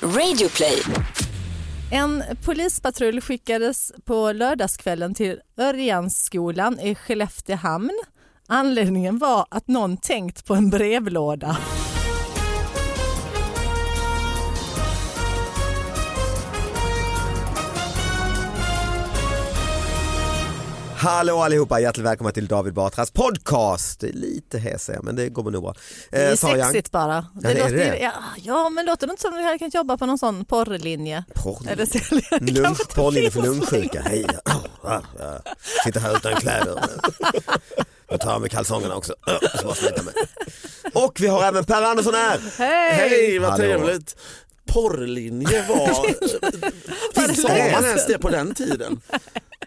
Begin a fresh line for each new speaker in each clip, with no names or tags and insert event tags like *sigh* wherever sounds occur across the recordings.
Radioplay.
En polispatrull skickades på lördagskvällen till Örjansskolan i Skelleftehamn. Anledningen var att någon tänkt på en
Eh,
brevlåda.
Hallå allihopa, hjärtligt välkomna till David Batras podcast. Det är lite hes jag, men det går nog bra. Eh,
Det är
Sara Young.
sexigt bara.
det är
låter,
det.
Ja, ja, men låter det inte som att vi hade kunnat jobba på någon sån porrlinje?
Porrlinje.
Eller så- *laughs* det kanske
Lunch,
inte
porrlinje
finns
för lungsjuka.
*laughs*
Hej. Ah, ah. Sitter här utan kläder. Jag tar av mig kalsongerna också. Ah, Så bara smita mig. Och vi har även Per Andersson här.
Hej!
Hej, vad
Hallå.
trevligt. Porrlinje var... Finns- Sa
länge
man ens det på den tiden?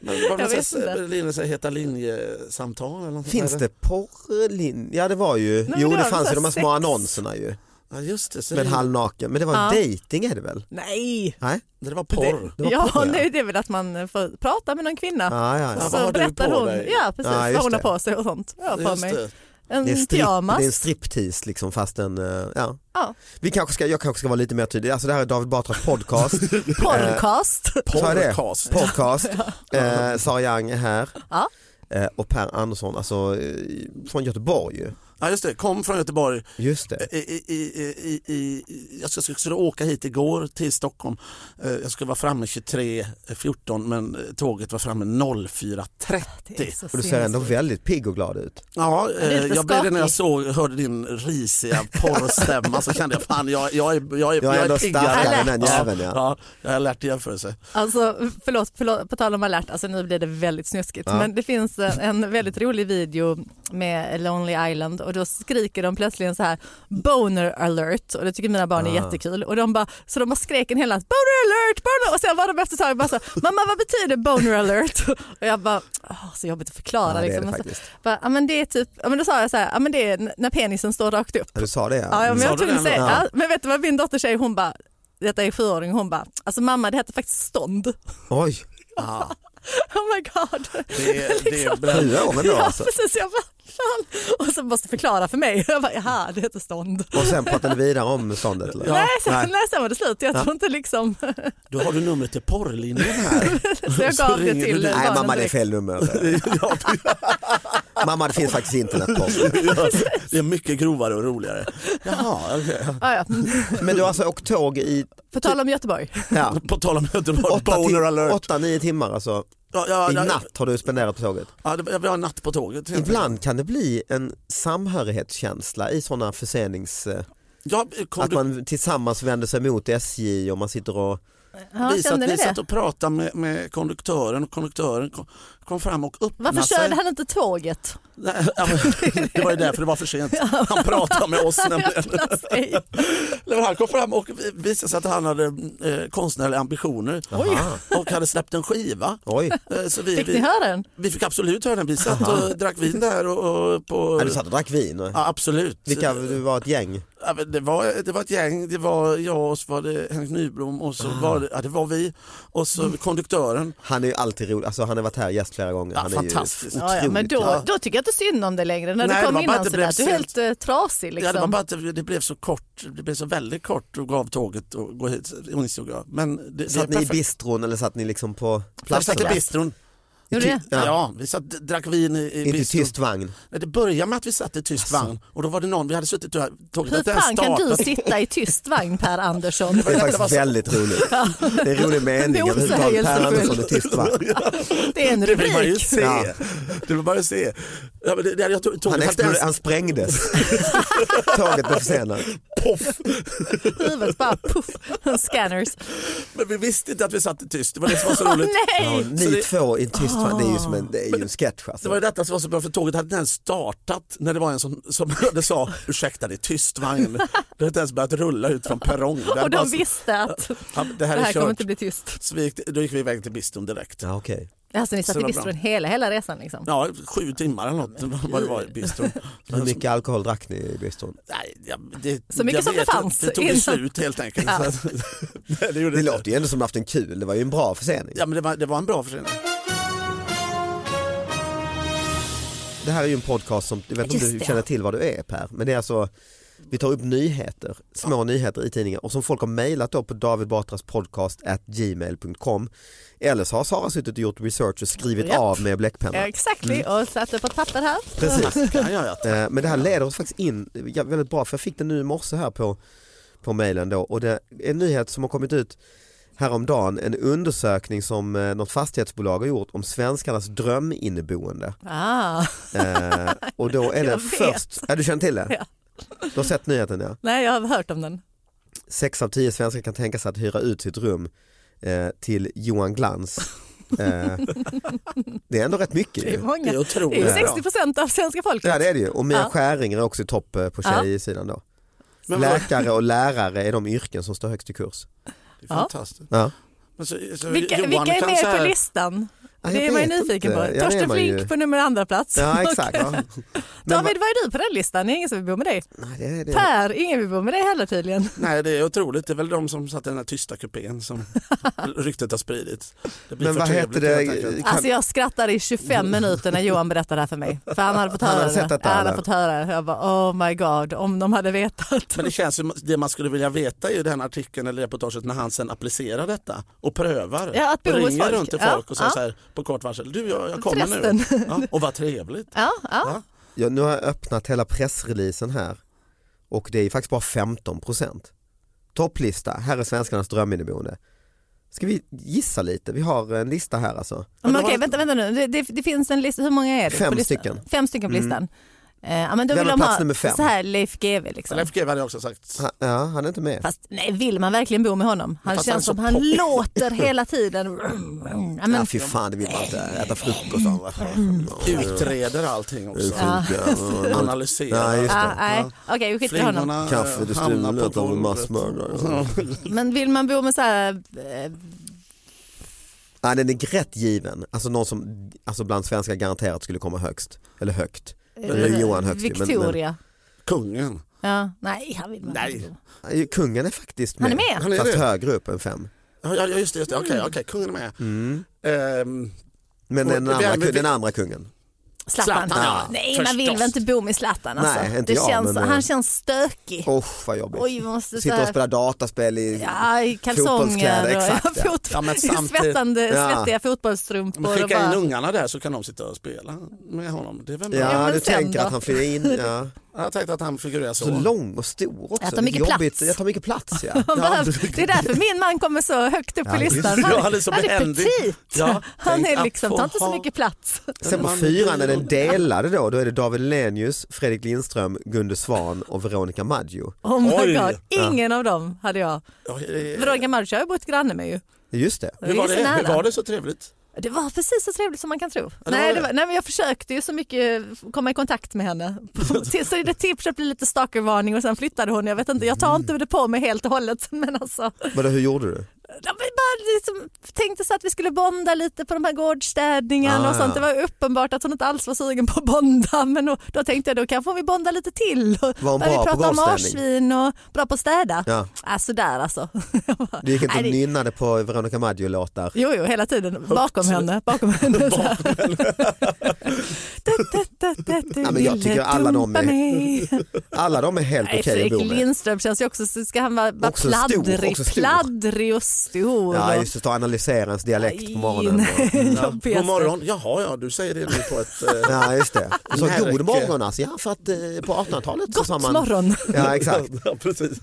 Men det var
Jag vet inte.
väl linje, heta linjesamtal eller något
Finns
sånt där.
det porrlinje? Ja det var ju,
men
jo
det
det
var
fanns
så
ju de här
sex.
små annonserna ju.
Ja, just det. Så
Med en
det-
halvnaken, men det var
Ja.
dating är det väl?
Nej!
Nej?
Det var porr.
Det var
ja,
porr, ja.
nej, det är väl att man får prata med någon kvinna.
Ah, ja,
Ja,
ja.
vad
så
har du
berättar
på
hon
dig?
ja, precis,
Ja,
vad
just
hon har
det.
på sig och sånt. Jag har på
Just
mig
det.
en
Det är, strip,
pyjamas.
det är en striptease liksom fast en, eh, ja.
Ja.
Vi kanske ska, jag kanske ska vara lite mer tydlig, alltså det här är David Batras podcast. *laughs*
Porrcast.
Sa jag det?
*laughs*
Porrcast.
Podcast. eh, Sara Young är här.
Ja.
Eh, och Per Andersson, alltså eh, från Göteborg ju.
Ja, just det. Kom från Göteborg.
Just det.
I, i, i, i, i, i- jag skulle, skulle åka hit igår till Stockholm. Eh, Jag skulle vara framme 23.14 men eh, tåget var framme 04.30.
Det är så
Och du ser
sinnessjukt.
ändå väldigt pigg och glad ut.
Ja, eh,
lite
jag blev det när jag
skakig.
såg, hörde din risiga porrstämma så kände jag fan jag, jag, är, jag, är,
Jag är ändå
piggare.
starkare
än
den jäveln, ja.
ja. ja. Jag har lärt jämförelse.
Alltså, förlåt, förlåt, på tal om alert, alltså nu blir det väldigt snuskigt. Men det finns en, en väldigt rolig video med Lonely Island och då skriker de plötsligen så här boner alert och det tycker mina barn är jättekul. Och de bara, så de bara skrek en hel natt boner alert, boner och sen var de efter ett tag bara så mamma vad betyder boner alert? Och jag bara, "Åh, så jobbigt att förklara.
Ja, det är
liksom.
det
Och så
faktiskt.
bara, ja, men det är typ, ja, men då sa jag så här, ja, men det är n- när penisen står rakt upp.
Ja, du sa det
Ja, men
Sa
jag
du
var tvungen att
det
säga.
ändå?
Ja, men vet du vad min dotter säger? Hon bara, detta är sjuåring, hon bara, alltså mamma det heter faktiskt stånd.
Oj,
Ja,
Oh my god. *laughs* Liksom.
det, det är bra.
sju år men då
Ja
alltså.
precis, jag bara, fan. Och så måste förklara för mig. Jag bara, jaha det heter stånd.
Och sen pratade ni vidare om ståndet? eller?
Ja.
nej, sen,
nej.
nej. sen var det slut. Jag tror inte
*laughs*
liksom,
Då har du numret till porrlinjen
*laughs*
här.
så jag
Så
gav det
ringer
till
du dit.
Nej
barnen
mamma det är
direkt. *laughs*
fel nummer. alltså.
Ja,
mamma det finns faktiskt internetpost.
det är mycket grovare och roligare. Jaha, okej.
Ja, ja.
Men du alltså åkt tåg i
På tal om Göteborg.
ja,
På tal om Göteborg,
åtta
boner
tim-
alert.
åtta, nio timmar alltså.
Ja, ja,
I
ja,
natt har du spenderat på tåget.
Ja, det, jag vill ha en natt på tåget. helt enkelt.
Ibland kan det bli en samhörighetskänsla i sådana försenings... eh,
Ja, kom
Att
du
man tillsammans vänder sig mot SJ och man sitter och...
Ja,
vi satt,
kände ni
vi
det?
satt och pratade med, med konduktören och konduktören kom, kom fram och öppnade
Varför
sig.
körde han inte tåget?
*laughs* Nej, ja, men Det var ju därför det var för sent. Han pratade med oss nämligen.
Öppna
*laughs*
sig.
Nej, men Han kom fram och vi- visade sig att han hade eh, konstnärliga ambitioner
Aha.
och hade släppt en skiva. *laughs*
Oj,
Eh, Så vi,
Fick ni
vi,
höra den?
vi fick absolut höra den. Vi satt och drack vin där. Och, och på,
ja, du satt och drack vin. Och...
Ja, absolut.
Vilka, du var ett gäng.
Ja, men det, var, det var ett gäng, det var jag och så var det Henrik Nyblom och
Ah.
så var det, ja, det var vi och så
Mm.
konduktören.
Han är ju alltid rolig, alltså han har varit här gäst flera gånger.
Ja,
han är
fantastisk.
Ju
Ja, ja, men
otroligt
då,
glad.
då tycker jag inte synd om dig längre. När
Nej,
du
det
kom
var bara
in
att det
sådär, du
blev
är helt eh, trasig.
Ja, det var
Liksom.
bara att det, det blev så kort, det blev så väldigt kort och gav tåget och gå hit. Och insåg jag. Men det, det är
Satt ni i
perfekt.
bistron eller satt ni liksom på
Vi satt i
platsen?
bistron.
Gjorde
ty-
det?
Ja.
Ja. vi satt, drack vin i, i
Inte i
bistron.
tyst vagn.
Nej, det började med att vi satt i tyst vagn och då var det någon, vi hade suttit och tåget
Hur
hade inte
fan
ens
kan du
startat.
sitta i tyst vagn Per
*laughs*
Andersson?
Det är faktiskt väldigt roligt. Det är en rolig mening överhuvudtaget. Per Andersson är tyst va?
Det är en
Det vill man ju
rubrik.
se.
Ja.
Det vill man ju se. Ja, men det, det, jag tog, tåget
Han,
hade inte ens-
exploderade, han
*laughs*
sprängdes. Tåget blev försenat.
Poff!
Huvudet bara puff, scanners.
Men vi visste inte att vi satt i tyst, det var det som var så roligt.
Ja,
*laughs* Nej!
ni
det- Ah.
två i en tyst vagn, det är ju som en, det är ju en sketch
Det var ju
alltså.
detta som var så bra för tåget hade inte ens startat när det var en som, som *laughs* hörde sa ursäkta det är tyst vagn. Det hade inte ens börjat rulla ut från perrongen. Det hade
Och
bara
de
så-
visste att
Ja, det här
det
är
här
kört.
kommer inte bli tyst.
Så vi gick, då gick vi iväg till bistron direkt.
Ja, okej.
Alltså ni satt
Så
i
det var
bistron
bra.
hela, hela resan liksom?
Ja, sju timmar eller något vad det var i bistron. Alltså,
Hur mycket alkohol drack ni i bistron?
Nej, jag- det,
Så mycket
jag
som det
vet inte.
fanns
Det tog
innan.
ju slut helt enkelt.
Ja.
Så att- *laughs* Nej, det, gjorde
Det
inte.
låter ju ändå som att ni haft en kul, det var ju en bra försening.
Ja, men det, var, det var en bra försening.
Det här är ju en podcast som, jag vet inte om
Just
du
det.
känner till vad du är Per, men det är alltså Vi tar upp nyheter, små nyheter i tidningar och som folk har mejlat då på davidbatraspodcast.gmail.com. Eller så har Sara suttit och gjort research och skrivit
Japp.
av med bläckpenna.
Exakt, och satte på papper här.
Precis.
Kan jag göra.
Eh, Men det här leder oss faktiskt in ja, väldigt bra för jag fick den nu i morse här på, på mejlen då och det är en nyhet som har kommit ut häromdagen, en undersökning som eh, något fastighetsbolag har gjort om svenskarnas dröminneboende.
Ah.
Eh, och
*laughs*
då är det
Jag vet.
först, ja, du känner till det?
Ja.
Du har sett nyheten ja.
Nej, jag har hört om den.
Sex av tio svenskar kan tänka sig att hyra ut sitt rum eh, till Johan Glans.
*laughs*
Eh, det är ändå rätt mycket
Det är
ju.
Det är
många. Det
otroligt
är
bra.
60 procent av svenska folket.
Ja det är det ju och Mia
Ja.
Skäringer är också i topp eh, på
Ja.
tjejsidan då.
Men vad-
Läkare och lärare är de yrken som står högst i kurs.
Det är
Ja.
fantastiskt.
Ja.
Men så, så
Vilka,
Johan
vilka är
kan så
med
här-
på listan?
Ja, jag
det är man ju
vet
nyfiken
inte.
på.
Ja, det är
Torsten
man ju.
Flink på nummer andra plats. *laughs*
Ja
Och
exakt. Ja. Men
David, vad är du på den listan? Det är ingen som vill bo med dig.
vad- nej, det är det.
Per, ingen vill bo med dig heller tydligen.
Nej, det är otroligt. Det är väl de som satt i den här tysta
*laughs*
kupén som ryktet har spridits. Det blir
Men
för
vad heter
trevligt,
det?
helt enkelt.
Kan- Mm.
Alltså jag skrattade i 25 minuter när Johan berättade det här för mig. För han hade fått
Han
höra
hade sett
det. Ja,
detta,
Han hade
eller?
fått höra det. Jag bara oh my god, om de hade vetat.
Men det känns som det man skulle vilja veta i den här artikeln eller reportaget när han sen applicerar detta och prövar.
Ja, att bo
och
hos
ringer
folk.
runt till
Ja,
folk och säger
ja.
så här på kort varsel. Du, jag, jag kommer nu.
Förresten.
Ja, och
*laughs*
vad trevligt.
Ja, ja.
Ja, nu har jag öppnat hela pressreleasen här och det är faktiskt bara 15 procent. Topplista, här är svenskarnas dröminneboende. Ska vi gissa lite? Vi har en lista här alltså.
Men
det
okej,
var-
vänta, vänta nu. Det, det, det finns en lista. Hur många är det?
Fem
på listan?
stycken.
Fem stycken på listan. Eh, ja, men då
Vem
vill
har
de
plats
ha
nummer fem?
så här Leif GW liksom.
Leif GW hade jag också sagt.
Han, ja, han är inte med.
Fast nej, vill man verkligen bo med honom? Han
Fast
känns
han är så
som han
poppig.
låter
*laughs*
hela tiden. Ja, men, Mm.
Ja, fy fan, det vill man inte äta frukost av.
Utreder allting också.
Sjuka.
Analyserar.
Ja, just
ah,
det.
nej. Okej, vi skiter i honom.
eh,
Kaffe, det
hamnar på
stulet av en
golvet.
massmördare.
Men vill man bo med så här, eh,
Nej, den är rätt given. Alltså någon som alltså bland svenskar garanterat skulle komma högst. Eller högt. Det är ju Johan högst ju, men- men-
Eh, Victoria?
Kungen.
Ja, nej, han vill man
Nej.
inte bo med.
Eh, Kungen är faktiskt
Han
med.
är med?
Han är
Fast
det.
högre upp än fem.
Ja, ja, just det. Just det. Okej,
Mm.
okej, kungen är med. Ehm,
Men
Och
den
det-
andra,
men vi-
ku- den andra kungen.
Zlatan?
Zlatan, ja.
Nej, man vill
Förstås.
väl inte bo med Zlatan alltså.
Nej,
det
inte jag,
känns,
men, eh,
Han känns stökig.
Åh vad jobbigt.
Oj, vi måste så
Sitter och
här,
spelar dataspel i...
ja, i
fotbollskläder,
kalsonger och
exakt, ja.
fot,
Ja, men
i
samtidigt-
svettande,
Ja.
svettiga fotbollsstrumpor.
Men
och
skicka in
bara,
ungarna där så kan de sitta och spela med honom. Det är väl bra.
Ja,
Ja, men
du
sen
tänker
då?
att han flyr in.
*laughs*
Ja.
Jag tänkte att han figurerar så.
Så lång och stor också.
Jag tar mycket
Jobbigt.
plats.
Jag tar mycket
*laughs*
plats ja.
han
ja.
behöver, det är därför min man kommer så högt upp på
Ja, just
listan.
*laughs*
det.
Ja, han är så
han är
behändig.
petit.
Ja,
Han
tänk
är
att
liksom,
få
tar inte så
ha-
mycket plats.
Sen på
Man-
fyran är den delade då, då är det David Lenius, Fredrik Lindström, Gunde Svan och Veronica Maggio.
Oh my
Oj.
god, ingen av dem hade jag.
Ja, eh,
Veronica Maggio har jag bott granne med ju.
Just det.
Hur var
Vi är
det?
så nära.
Hur var det så trevligt?
Det var precis så trevligt som man kan tro.
det var
nej,
det.
det var, nej, men jag försökte ju så mycket eh, komma i kontakt med
*laughs*
henne. Till- så det till så blev det lite stalkervarning och sen flyttade hon. Jag vet inte, jag tar
Mm.
inte det på mig helt och hållet. *laughs* Men alltså,
Vadå, hur gjorde du?
ja, men bara liksom, tänkte så att vi skulle bonda lite på de här gårdsstädningarna
Ah.
och sånt. Det var ju uppenbart att hon inte alls var sugen på att bonda. *laughs* Men då, då tänkte jag då kanske vi bonda lite till. Och
Var hon
började
bra på
prata om
gårdsstädning?
marsvin och bra på att städa.
Ja.
Äh, sådär alltså.
Du gick inte och
Nej, det-
nynnade på Veronica Maggio-låtar?
Jo, jo, hela tiden bakom henne. Bakom henne. så här. *laughs* Du, du, du, du, du
Ja, men jag
ville
tycker alla de
dumpa
är- *laughs*
mig.
Alla de är helt
Nej,
okej att bo
Fredrik
med.
Lindström känns ju också, så ska han vara, vara
Också stor,
pladdrig,
också stor.
pladdrig och stor.
Ja,
och-
just det, stå och analysera ens dialekt på
Aj,
morgonen.
nej, *laughs*
Och,
jag vet
God
inte.
morgon. Jaha, ja, du säger det nu på ett... eh,
ja, just det. Och så
Märke.
god morgon alltså, ja, för att eh, på 1800-talet så
Gott
sa man...
morgon.
Ja, exakt.
*laughs* ja, precis.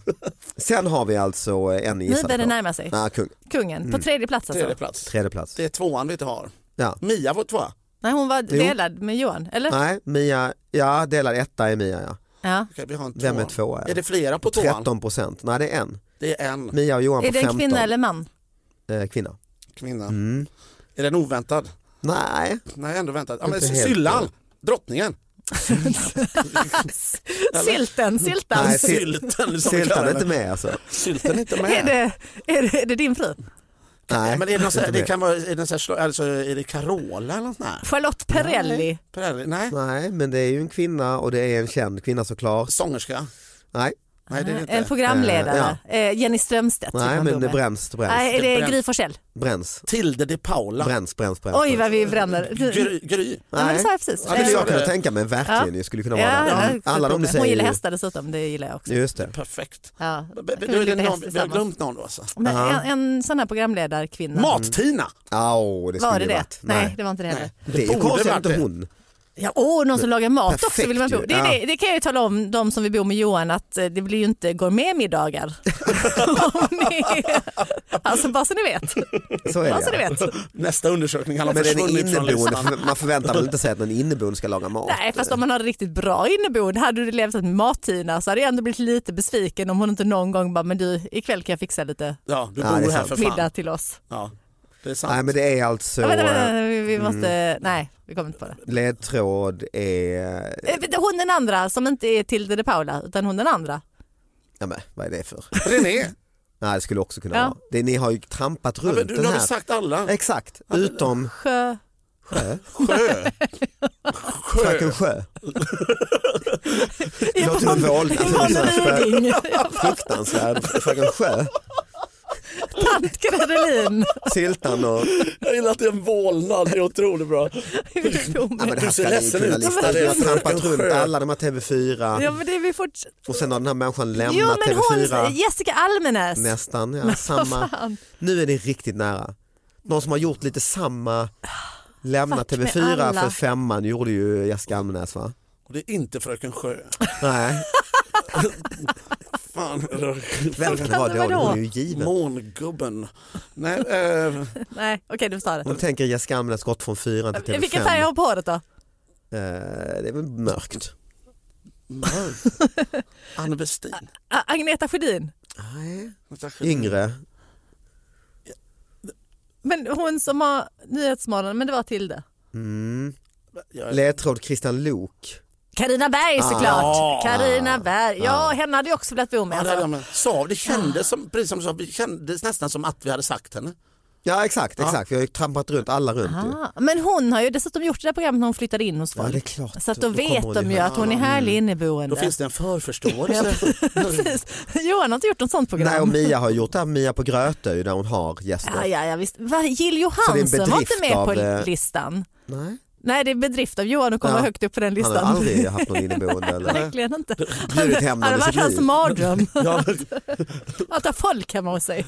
Sen har vi alltså eh, en
Nu
gissad
börjar det närma sig.
Ja, kung.
Kungen på tredje plats alltså.
Tredje plats.
Tredje plats.
Det är tvåan vi inte har.
Ja.
Mia var tvåa.
Nej, hon var delad med Johan, eller?
Nej, Mia, ja delad etta är Mia ja.
Ja.
Okej, vi har en tvåa.
Vem är tvåa?
Är det flera på tvåan?
13 procent, nej det är en.
Det är en
Mia och Johan
Är
på
det
15.
en kvinna eller
*laughs*
man? *laughs*
Eh, kvinna.
kvinna.
Mm.
Är den oväntad?
Nej,
Nej, ändå väntad. Ja, men
Inte helt.
Syllan, drottningen.
Sylten, syltan.
Nej, Syl-
Sylten som vi
Syltan
kallar
är inte
henne.
med alltså.
Sylten
*laughs*
är inte med.
Är det, är, det, är det din fru?
Nej,
Men är det, någon sån här,
inte
det
med.
kan vara, är det, så här, sla- alltså, är det Carola eller något sånt här?
Charlotte Perrelli.
Perrelli? Nej,
Nej, men det är ju en kvinna och det är en känd kvinna såklart.
sångerska.
Typ
Nej,
Nej, det är det inte.
En programledare, Eh, Jenny Strömstedt. tycker
Nej
man
men
då
det
med.
bränns, det bränns.
Nej, det
Det
är Gry Forssell.
Bränns,
Tilde de Paula.
bränns, bränns, bränns.
Oj vad vi bränner.
Gry. Gry.
Nej, men det sa jag precis.
skulle jag
Eh,
kunna tänka mig verkligen,
ja.
jag skulle kunna
Ja,
vara där.
ja,
Mm. Alla de du säger.
Hon gillar
ju-
hästar dessutom, det gillar jag också.
Just det.
Perfekt.
Ja,
B-
jag
b-
kunde
Då är det
lite häst
någon, vi har
tillsammans. Mm.
glömt någon då alltså.
Men
Aha.
en, en sån här programledarkvinna.
Mat-Tina.
Au, det skulle
var det
ju
det?
varit.
Nej. det var inte det heller.
Det är ju
borde
konstigt att
varit
inte
det.
hon.
Ja, åh, någon som lagar mat också
perfekt
vill man bo.
ju.
Det, är
Ja.
det, det kan jag ju tala om, de som vill bo med Johan, att eh, det blir ju inte gourmetmiddagar.
*laughs*
*laughs* Om ni- alltså bara så ni vet.
Så är
Bara så ni
det. ja.
vet.
Nästa undersökning, han har
Men den är
försvunnit från
inneboende,
listan.
för man förväntar väl inte sig att någon inneboende ska laga mat.
Nej, fast om man har det riktigt bra inneboende, hade du levt ett mat-Tina så hade jag ändå blivit lite besviken om hon inte någon gång bara, men du, ikväll kan jag fixa lite
Ja, du
Ja,
bor
det är
här
sant.
för fan.
middag till oss.
Ja, det är sant.
Nej men det är alltså,
Ja, vänta, vänta,
eh,
vänta, vi, vi måste, nej, vi kommer inte på det.
ledtråd är,
Eh, vänta, Hon den andra som inte är Tilde de Paula, utan hon den andra.
ja men vad är det för?
René,
Nej det skulle också kunna
Ja.
vara. Det, ni har ju trampat
ja,
runt
men du, nu
den
har vi
här.
sagt alla.
Exakt, utom
Sjö.
sjö,
Sjö.
fröken sjö.
Sjö.
Det låter som en våld, alltså, det är
*laughs*
så
Yvonne Ryding,
fruktansvärd. Fröken sjö,
tant Gredelin.
Siltan och
*laughs* Jag gillar att det är en vålnad, det är otroligt bra.
Ja, men det här
Du ser
ska ni
ledsen
kunna
ut.
lista. Vi har
Ja, men-
trampat runt
Sjö.
alla de här TV4
Ja men det är vi fort...
och sen har den här människan lämnat
Jo men
TV4
hon, Jessica Almenäs.
nästan. Ja, samma.
Fan.
Nu är det riktigt nära. Någon som har gjort lite samma, lämnat
Fuck med
TV4
alla.
för femman gjorde ju Jessica Almenäs va?
Och det är inte Fröken Sjö.
Nej,
Fan,
väldigt
Vadå,
bra dålig.
vadå?
Hon är ju given.
mångubben. Nej, eh,
Nej okej du får ta
Om du
det.
tänker Jessica Almenäs gått från fyran till TV5.
Vilken färg har hon på håret då?
Eh, Det är väl mörkt.
Anne Westin.
A- Agneta Sjödin.
Nej. Mm. Yngre.
Men hon som har Nyhetsmorgon, men det var Tilde.
Mm.
Jag-
Ledtråd Christian Lok.
Karina Berg såklart.
Ah.
Karina Berg. Ja, henne hade jag också velat bo med.
Ja,
Alltså.
det, hade jag med. Sa, det kändes som, precis som du sa, det kändes nästan som att vi hade sagt henne.
Ja exakt,
Ja.
exakt. Vi har ju trampat runt alla runt ju.
Ah, men hon har ju dessutom gjort det där programmet när hon flyttade in hos
typ. Ja,
folk.
det är klart.
så att då,
kommer
vet de ju
ihåg. Mm.
att hon är härlig inneboende.
Då finns det en förförståelse.
Precis. *laughs* Johan har inte gjort något sånt program.
Nej och Mia har gjort det här, Mia på Grötö ju, där hon har gäster.
Ja, ja, ja, visst. Va, Jill
Så det är en
Johansson var inte
bedrift
med
av,
på
eh,
listan.
Nej,
Nej, det är bedrift av Johan att komma
Ja.
högt upp på den
han
listan.
har aldrig haft någon
*laughs*
inneboende eller
Verkligen inte.
bjudit hem
Det hade
någon i sitt
varit hans
liv.
mardröm
ja,
att ha folk hemma hos
*laughs*
sig.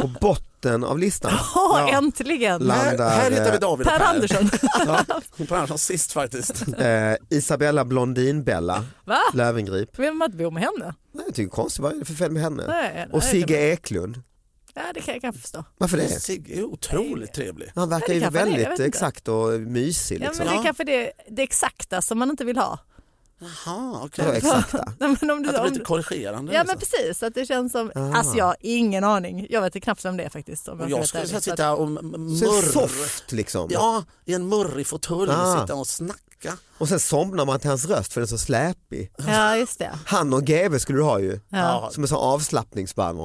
På botten
*laughs*
av listan
Åh,
Ja.
äntligen!
La-
här, här hittar vi David och
Per
*laughs*
Andersson.
Ja, Per Andersson sist faktiskt.
eh, Isabella Blondin-Bella
Va?
Lövengrip.
Vill man inte bo med henne?
Nej, jag tycker konstigt, vad är det för fel med henne?
Nej,
Och
nej,
Sigge
det-
Eklund,
Ja, det kan jag kanske förstå.
varför det?
Sigge är otroligt trevlig.
Han verkar
Ja, det
ju
kanske han är, jag vet
väldigt
inte.
exakt och mysig
Ja,
liksom.
men det är
Ja.
kanske det, det exakta som man inte vill ha.
Jaha, okej.
Ja, exakta.
Nej, *laughs* men om du,
Att det
om
blir
du,
lite korrigerande.
ja, men
liksom.
precis. Att det känns som...
Ah.
Alltså, jag har ingen aning. Jag vet knappt vem det är faktiskt. Om
och
ska vara
jag skulle
ärlig. Så att-
sitta och m- m-
Så
murr.
soft liksom.
Ja, i en murrig fåtölj
Ah.
och sitta och snacka.
Och sen somnar man till hans röst för den är så släpig.
Ja, just det.
Han och GV skulle du ha ju.
Ja.
Som en sån avslappningsband.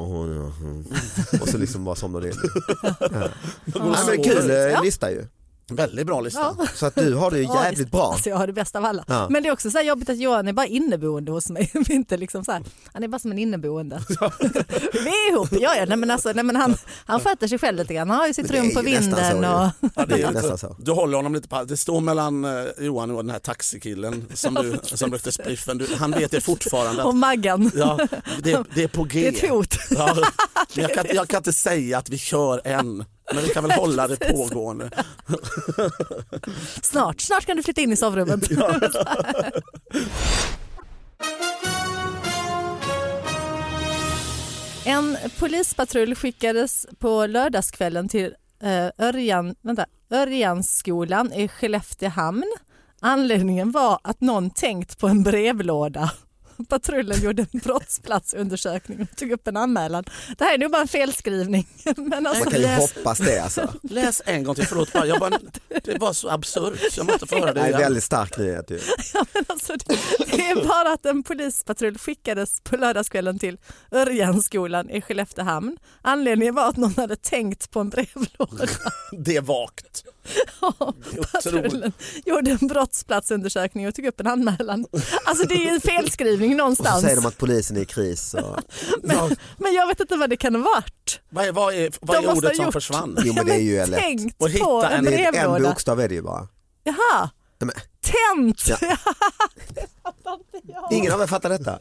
Och så liksom bara somnar du in.
Ja.
Ja, men kul eh,
Ja.
lista ju.
Väldigt bra lista.
Ja.
Så att du har det ju
Ja,
jävligt
visst.
bra.
Alltså jag har det bästa av alla.
Ja.
Men det är också så här jobbigt att Johan är bara inneboende hos mig. *laughs* Vi är inte liksom så här, han är bara som en inneboende. *laughs* Vi är ihop, ja, ja. Nej, men alltså, nej, men han, han sköter sig själv lite grann. Han har ju sitt
Men det är
rum på
ju nästan så
vinden.
ju.
och,
Ja,
Det är
lite-
nästan så.
Du håller honom lite på Det står mellan eh, Johan och den här taxikillen som, du, som rökte spliffen. Du, han vet det
*laughs*
fortfarande.
och
Att,
Maggan.
ja, det, det är på G.
Det är ett hot.
Ja,
*laughs*
men jag, kan, jag kan inte säga att vi kör än, men vi kan väl hålla det pågående.
Snart, snart kan du flytta in i
*laughs*
sovrummet. En polispatrull skickades på lördagskvällen till eh, Örjan, vänta, Örjansskolan i Skelleftehamn. Anledningen var att någon tänkt på en brevlåda. *laughs* Patrullen gjorde en brottsplatsundersökning och tog upp en anmälan. Det här är nog bara en felskrivning. *laughs* Men alltså,
Man kan ju
Läs-
hoppas det alltså.
Läs en gång till, förlåt. bara, Jag bara, det var så absurt, jag måste få höra
Det är
det
en
igen.
väldigt stark nyhet ju.
Alltså, det- det är bara att en polispatrull skickades på lördagskvällen till Örjansskolan i Skelleftehamn. Anledningen var att någon hade tänkt på en brevlåda.
Det är vagt.
Patrullen gjorde en brottsplatsundersökning och tog upp en anmälan. Alltså det är en felskrivning
Och så
någonstans.
säger de att polisen är i kris. Och...
Ja,
Men jag vet inte vad det kan ha varit.
vad är, vad är, vad
De måste
är
ha
ordet som
gjort.
försvann?
Jo men det är ju lätt.
Tänkt
Och hitta
på
en-
en
Det är en
brevlåda.
bokstav är det ju bara.
Jaha,
Nej, men-
tänt.
Ja.
Det fattar inte jag.
Ingen av er fattar detta?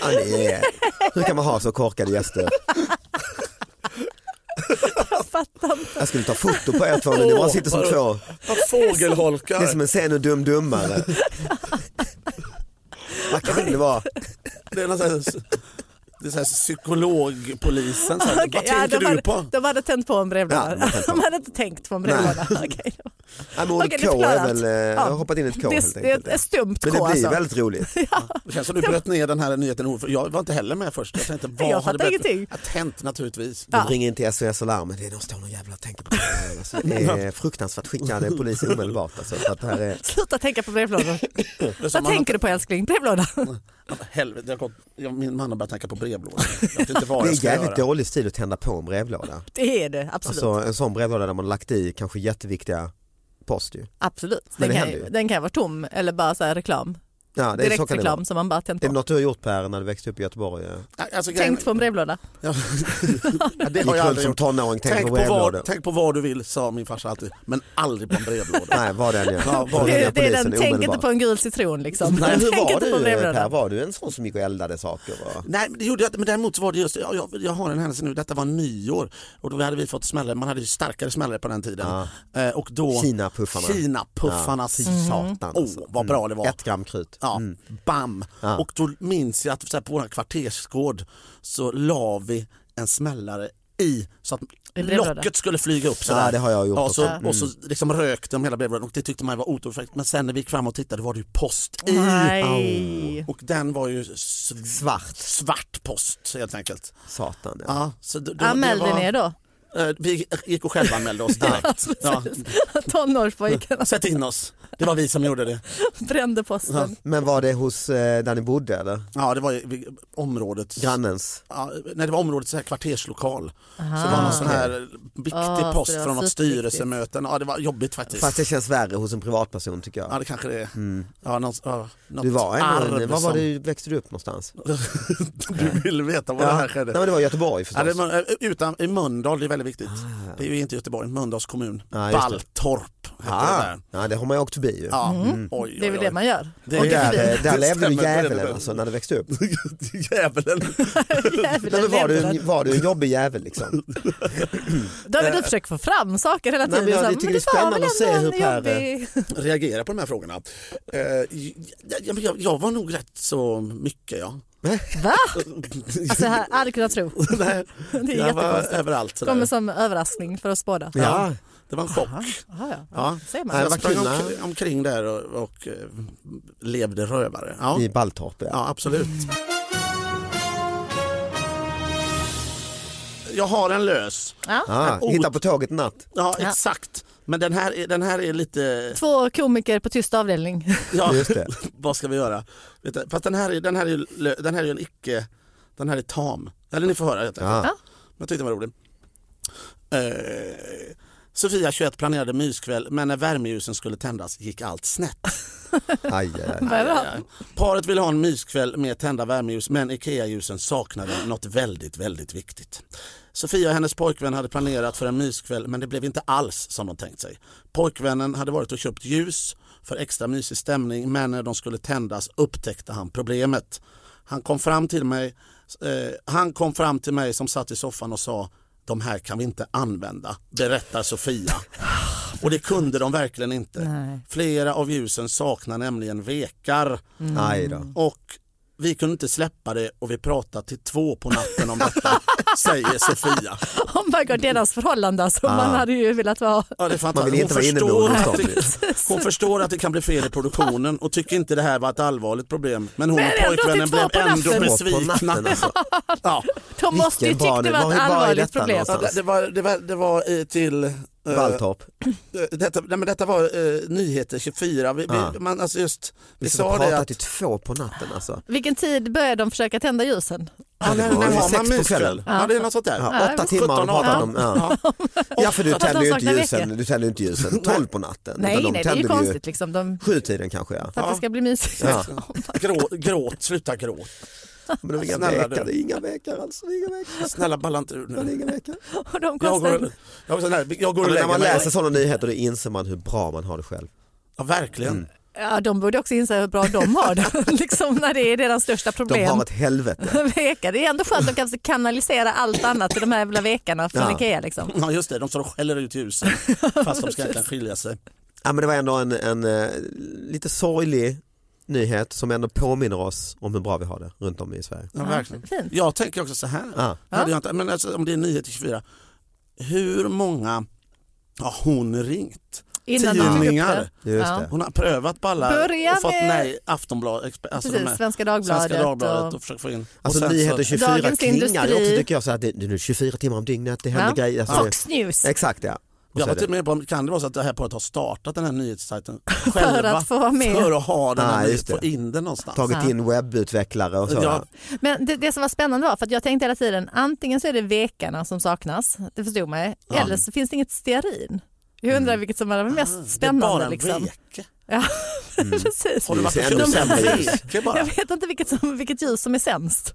Ja, ni är... Hur kan man ha så korkade gäster?
Jag fattar inte.
Jag skulle ta foto på er två nu, ni bara sitter som två.
Vad
Det är
Fågelholkar,
som en scen ur Dum Dummare. Vad kan det vara?
det är någon sån här, det är så här psykologpolisen. Så här,
Okej,
vad tänker
de,
du
hade,
på?
de hade tänt på en
Ja,
brevlåda.
de hade tänt på.
de hade inte tänkt på en
*laughs*
brevlåda. Okej.
Nej, men ordet
Okej, det
K är
förklarar
väl, eh, jag har hoppat in ett K
det,
helt
är- det
enkelt.
är ett stumt K
Men det blir
alltså.
väldigt roligt.
Det känns som du bröt ner den här nyheten ord för Jag var inte heller med först. Jag tänkte vad
Jag
hade
fattar
bättre-
ingenting.
att hänt naturligtvis.
De ringer in till SOS Alarm, men det är- de står någon jävla och tänker på det här. Alltså, det är fruktansvärt, skicka en polis omedelbart. Alltså, för att det här är...
Sluta tänka på
*laughs*
brevlådor.
Det är som
Vad
man-
tänker du på älskling? Brevlåda? *laughs*
Ja, men Helvete, jag kom, jag, min man har börjat tänka på brevlådan. Jag vet inte vad
Det
jag
är
ska
jävligt
göra.
dålig stil att tända på en brevlåda.
Det är det, absolut.
Alltså, en sån brevlåda där man lagt i kanske jätteviktiga post ju.
absolut. Den,
men det
kan,
händer ju.
ju- den kan vara tom eller bara så här reklam.
Ja, det är så kan det vara.
Direktreklam som man bara tänt
Är det
på.
något du har gjort Per när du växte upp i Göteborg? eh?
Alltså, grejen-
Tänkt på en brevlåda.
Ja, det har
Gick
jag
runt
aldrig
som
gjort.
tonåring, tänkte på
Tänk på, vad,
brevlådor.
tänk på vad du vill, sa min farsa alltid, men aldrig på
*laughs*
en brevlåda.
Nej, vad den gör.
Ja,
Då
*laughs*
Det,
vad
ringer
är- det är den,
polisen
tänk inte
omedelbart.
på en gul citron liksom.
Nej, hur
tänk
var
inte på en
du Per?
brevlåda.
Var du en sån som gick och eldade saker? Och...
Nej, men det gjorde jag inte, men däremot så var det just, jag, jag, jag har en händelse nu, detta var nyår och då hade vi fått smällare, man hade ju starkare smällare på den tiden.
Ja.
Eh, och då,
Kinapuffarna.
Kinapuffarna,
Ja, fy
Mm.
satan.
Åh,
alltså.
vad bra det var.
Ett gram krut.
Ja,
Mm.
bam!
Ja.
Och då minns jag att så här, på vår kvartersgård så la vi en smällare i så att
I brevlådan.
locket skulle flyga upp sådär.
Ja, det har jag gjort
Ja,
också.
så,
Mm.
Och så liksom rökte de hela brevlådan och det tyckte man var otroligt Men sen när vi gick fram och tittade var det ju post i.
Nej.
Och den var ju sv-
Svart.
svart post helt enkelt.
Satan. Ja.
Ja, så då, då, det
Anmälde
var-
ni er då? *laughs*
Eh, Vi gick och självanmälde oss direkt. *laughs* ja.
Tonårspojkarna
Sätt in oss, det var vi som gjorde det.
brände posten.
Men var det hos eh, där ni bodde eller?
Ja, det var ju vid områdets...
Grannens?
Ja, när det var området så här kvarterslokal så
Aha.
det var någon sån här viktig
Ah, så
post
det var
från något
superviktigt.
styrelsemöten. Ja, det var jobbigt faktiskt. Mm.
Fast det känns värre hos en privatperson tycker jag.
Ja, det kanske det är. Ja, någon, ja, något
Du var
arv
en, var var
som-
du, växte du upp någonstans?
*laughs* du ville veta vad det här skedde.
Nej, men det var i Göteborg förstås.
Ja, det var, utan, I Mölndal, det är väldigt viktigt. Det är ju inte Göteborg, Mölndals kommun.
Ja, just det.
Balltorp heter det
ah,
där.
ja, det har man ju åkt förbi ju.
Ja, oj, oj,
Det är väl
oj.
det man gör.
Det
Och
är-
där, eh, där
det
levde du
stämmer, det är
djävulen
*laughs* det.
alltså när du växte upp.
Djävulen.
*laughs* Jävla
Nej, men var, du,
leverne.
var du en jobbig jävel liksom?
David du försöker få fram saker hela
Eh. Nej,
tiden. liksom.
men jag
Så här,
tycker det är
var väl ändå
spännande att se hur Per- eh,
en jobbig- *laughs*
Reagera på de här frågorna. Eh, jag, jag, jag var nog rätt så mycket ja. *laughs*
Va? Alltså, här, aldrig kunnat tro.
Nej,
*laughs* Det är
jag var
jättekonstigt.
överallt. sådär.
Kommer som överraskning för oss båda.
Ja.
Det var en chock.
Jaha, ja.
Ja.
Ser man.
Nej,
Jag
vad
sprang
kul, va?
omkring, omkring där och, och eh, levde rövare. Ja,
I Balltorp ja.
ja absolut. Jag har en lös.
Ja.
Ah, hitta på tåget i natt.
Ja,
Ja.
exakt. Men den här, är- den här är lite...
Två komiker på tyst avdelning.
Ja,
Just det.
*laughs* vad ska vi göra? Vet du, Fast den här är, den här är, ju lö- den här är ju en icke... Den här är tam. Eller ni får höra. Helt enkelt.
Ja.
Ja.
Men jag tyckte den var rolig. Eh, Sofia 21 planerade myskväll men när värmeljusen skulle tändas gick allt snett.
Aj, aj, aj.
*laughs* Vad bra.
Paret ville ha en myskväll med tända värmeljus men IKEA-ljusen saknade något väldigt, väldigt viktigt. Sofia och hennes pojkvän hade planerat för en myskväll men det blev inte alls som de tänkt sig. Pojkvännen hade varit och köpt ljus för extra mysig stämning men när de skulle tändas upptäckte han problemet. Han kom fram till mig, eh, han kom fram till mig som satt i soffan och sa de här kan vi inte använda, berättar Sofia. Och det kunde de verkligen inte.
Nej.
Flera av ljusen saknar nämligen vekar
aj då.
och vi kunde inte släppa det och vi pratade till två på natten om
*laughs*
detta, säger Sofia.
Oh my god, deras förhållande alltså.
Ah.
Man hade ju velat vara...
Ja, det är
Man vill ju
fantastiskt.
inte vara inne med
förstår,
Olof
att
Stolpe.
det, hon förstår att det kan bli fel i produktionen och tycker inte det här var ett allvarligt problem. Men hon
Men
och
ändå till
pojkvännen
två
blev
på
ändå
natten.
På natten
besvikna. *laughs*
alltså.
Ja,
De måste ju
Vilken
tyckt
barn-
det var
var är-
ett
var är
allvarligt
detta
problem.
någonstans?
det, det, var, det, var, det var eh, till... eh,
Balltorp.
eh, detta, nej, men detta var eh, nyheter 24. Vi,
Ja.
vi, man, alltså just, vi
Vi satt och
sa det
pratade
att
till två på natten alltså.
Vilken tid började de försöka tända ljusen?
Ja, när, när
Vid
har
sex
man
på kvällen.
myskväll? Ja, det är något sånt där.
Ja, åtta
visst.
timmar har de
17,
pratat om. Ja. ja för du
Fast de
tänder ju inte
saknar
ljusen,
veckor.
du tänder ju inte ljusen tolv på natten.
Nej,
utan de
nej, det är ju
tänder
konstigt liksom. De,
Sjutiden kanske ja.
för att det ska bli mysigt.
Ja.
Grå, gråt, sluta gråt.
Men det är inga
Snälla
veckor,
du.
det är inga veckor alltså. Det är inga veckor.
Snälla balla inte ur
Det är
nu.
inga veckor.
*laughs* Och de
Jag
kostar...
går, jag, går, nej, jag går
Ja,
och
men när
lägger
man läser
mig.
sådana nyheter då inser man hur bra man har det själv.
Ja, verkligen.
Ja, de borde också inse hur bra de har det, *laughs* liksom när det är deras största
De
problem.
har ett helvete.
Veka. Det är ändå skönt att de kan kanalisera allt annat till de här jävla vekarna från
Ja.
Ikea. Liksom.
Ja, just det. De står och skäller
*laughs*
ut ljusen fast de ska egentligen skilja sig.
Ja, men det var ändå en, en eh, lite sorglig nyhet som ändå påminner oss om hur bra vi har det runt om i Sverige.
Ja, verkligen.
Fint.
Jag tänker också så här.
Ja.
Hade jag inte, men alltså, om det är 9 till 24. Hur många har hon ringt?
Innan de tog upp
Tidningar.
det.
Just
Ja.
det.
Hon har prövat på alla
Börja
och fått
med-
nej. Aftonbladet, Expe- alltså de
Precis,
här,
Svenska Dagbladet.
Svenska Dagbladet
och...
och försökt få in.
Alltså
och sen
nyheter
så-
24
Dagens
klingar ju också
Industri.
tycker jag så här, det, det är nu 24 timmar om dygnet, det händer
Ja.
grejer. Alltså,
Fox News
Exakt ja. Och så
Jag
är
var
det-
till och typ- med på, kan det vara så att det här paret har startat den här nyhetssajten
*laughs*
själva?
för att få vara med.
För att ha den här,
Ah,
nyheten,
just det.
få in den någonstans.
tagit in webbutvecklare och så.
Ja.
Men det, det som var spännande var, för att jag tänkte hela tiden, antingen så är det vekarna som saknas, det förstod man
Ja.
eller så finns det inget stearin. Jag undrar vilket som var det mest spännande.
Ah, det är bara en
liksom.
veke.
ja, *laughs*
Mm.
precis.
Har du varit
Det
och
är
köpt
ännu
en
sämre ljus.
veke bara?
Jag vet inte vilket, som, vilket ljus som är sämst.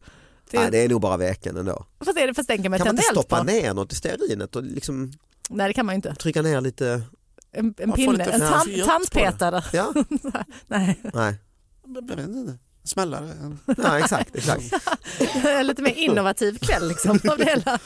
Det,
Nej, Ah, det är nog bara veckan ändå.
Fast, är det, fast den kan man
Kan man
tända
inte
eld
stoppa
på.
ner något i stearinet och liksom
Nej det kan man ju inte.
trycka ner lite?
En, en
Man får
pinne,
lite
en
fräs
tand,
göt
tandpetare. *laughs*
Ja,
Nej, *laughs*
nej,
Jag vet inte. Smällare.
nej exakt, exakt.
lite mer innovativ kväll liksom av det hela.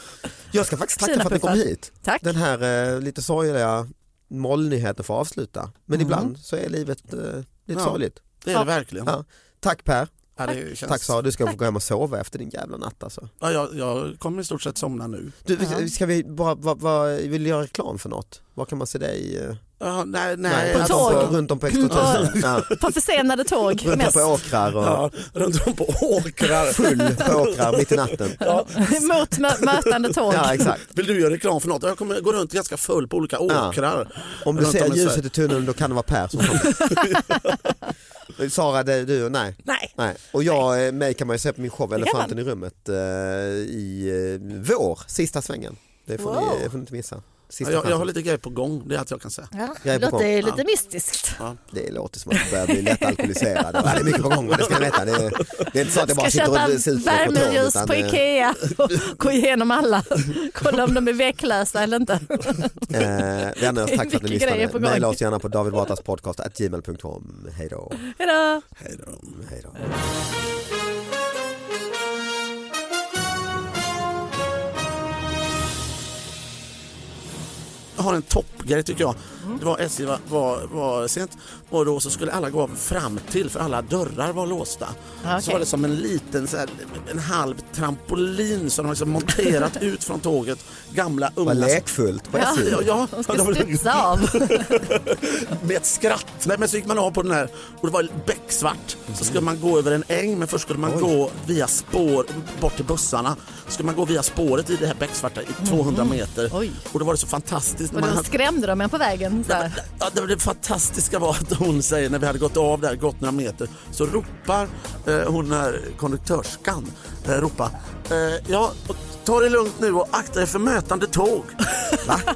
Jag ska faktiskt tacka
Fina
för att ni kom
puffar.
hit.
Tack.
Den här eh, lite sorgliga mollnyheten får avsluta. Men ibland så är livet eh, lite
Ja.
sorgligt.
Det är det verkligen.
Ja. Tack Per,
Ja, det känns...
tack Sara, du ska få
Tack.
gå hem och sova efter din jävla natt alltså.
Ja, jag, jag kommer i stort sett somna nu.
Du,
Ja.
ska vi bara, vad, vad, vill du göra reklam för något? Vad kan man se dig? eh,
Ja, nej, nej,
På
runt,
alltså-
tåg.
om på, runt om på extra ja,
På försenade tåg
Runt om
mest.
på åkrar och
Ja, runt om på åkrar.
full på åkrar mitt i natten.
Ja,
*laughs* Mot mö- mötande tåg.
Ja exakt.
vill du göra reklam för något? Jag kommer gå runt ganska full på olika
Ja.
åkrar.
Om du
Runt om
ser
i Sverige.
ljuset i tunneln då kan det vara Per som kommer. Sara, det, du, nej.
Nej.
Nej. Och jag, eh, mig kan man ju se på min show
kan
Elefanten i rummet eh, i eh, vår, sista svängen. Det får,
Wow.
ni, eh, får ni inte missa.
Ja,
Sista
jag, jag har
chansen.
lite grejer på gång, det är allt jag kan säga.
Ja,
Jag är
det
på
låter ju
gång.
lite mystiskt.
Det låter som att jag börjar bli lätt alkoholiserad. Ja, det är mycket på gång, det ska ni veta. Det är, det är inte så att jag bara
Ska
sitter och
köpa
ser ut på ett kontor,
värmeljus
utan,
på
eh,
Ikea och gå igenom alla. Kolla om de är vecklösa eller inte.
Eh, vänner, tack för att ni
Mycket grejer
lyssnade.
på gång.
Maila oss gärna på davidbatraspodcast.gmail.com. Hej då.
Hejdå!
Hej då.
Hej då.
Jag har en toppgrej tycker jag. Det var SJ var, var, var sent och då så skulle alla gå fram till för alla dörrar var låsta.
Ja,
Så
Ah, okej.
var det som en liten så här, en halv trampolin som de har liksom monterat ut från tåget. Gamla unga.
Vad lekfullt på
Ja.
SJ.
Ja, ja,
De *laughs*
ja,
ska
de-
studsa av.
*laughs* med ett skratt. Nej, men så gick man av på den här och det var becksvart. Så skulle man gå över en äng men först skulle man
Oj.
gå via spår bort till bussarna. Så skulle man gå via spåret i det här becksvarta i 200 meter.
Mhm. Oj.
Och då var det så fantastiskt.
Och
man
då
hade-
skrämde de en på vägen. Så här.
Ja, det, det fantastiska var att hon säger när vi hade gått av där, gått några meter, så ropar eh, hon här, konduktörskan, eh, ropar, eh, ja, ta det lugnt nu och akta er för mötande tåg. Va?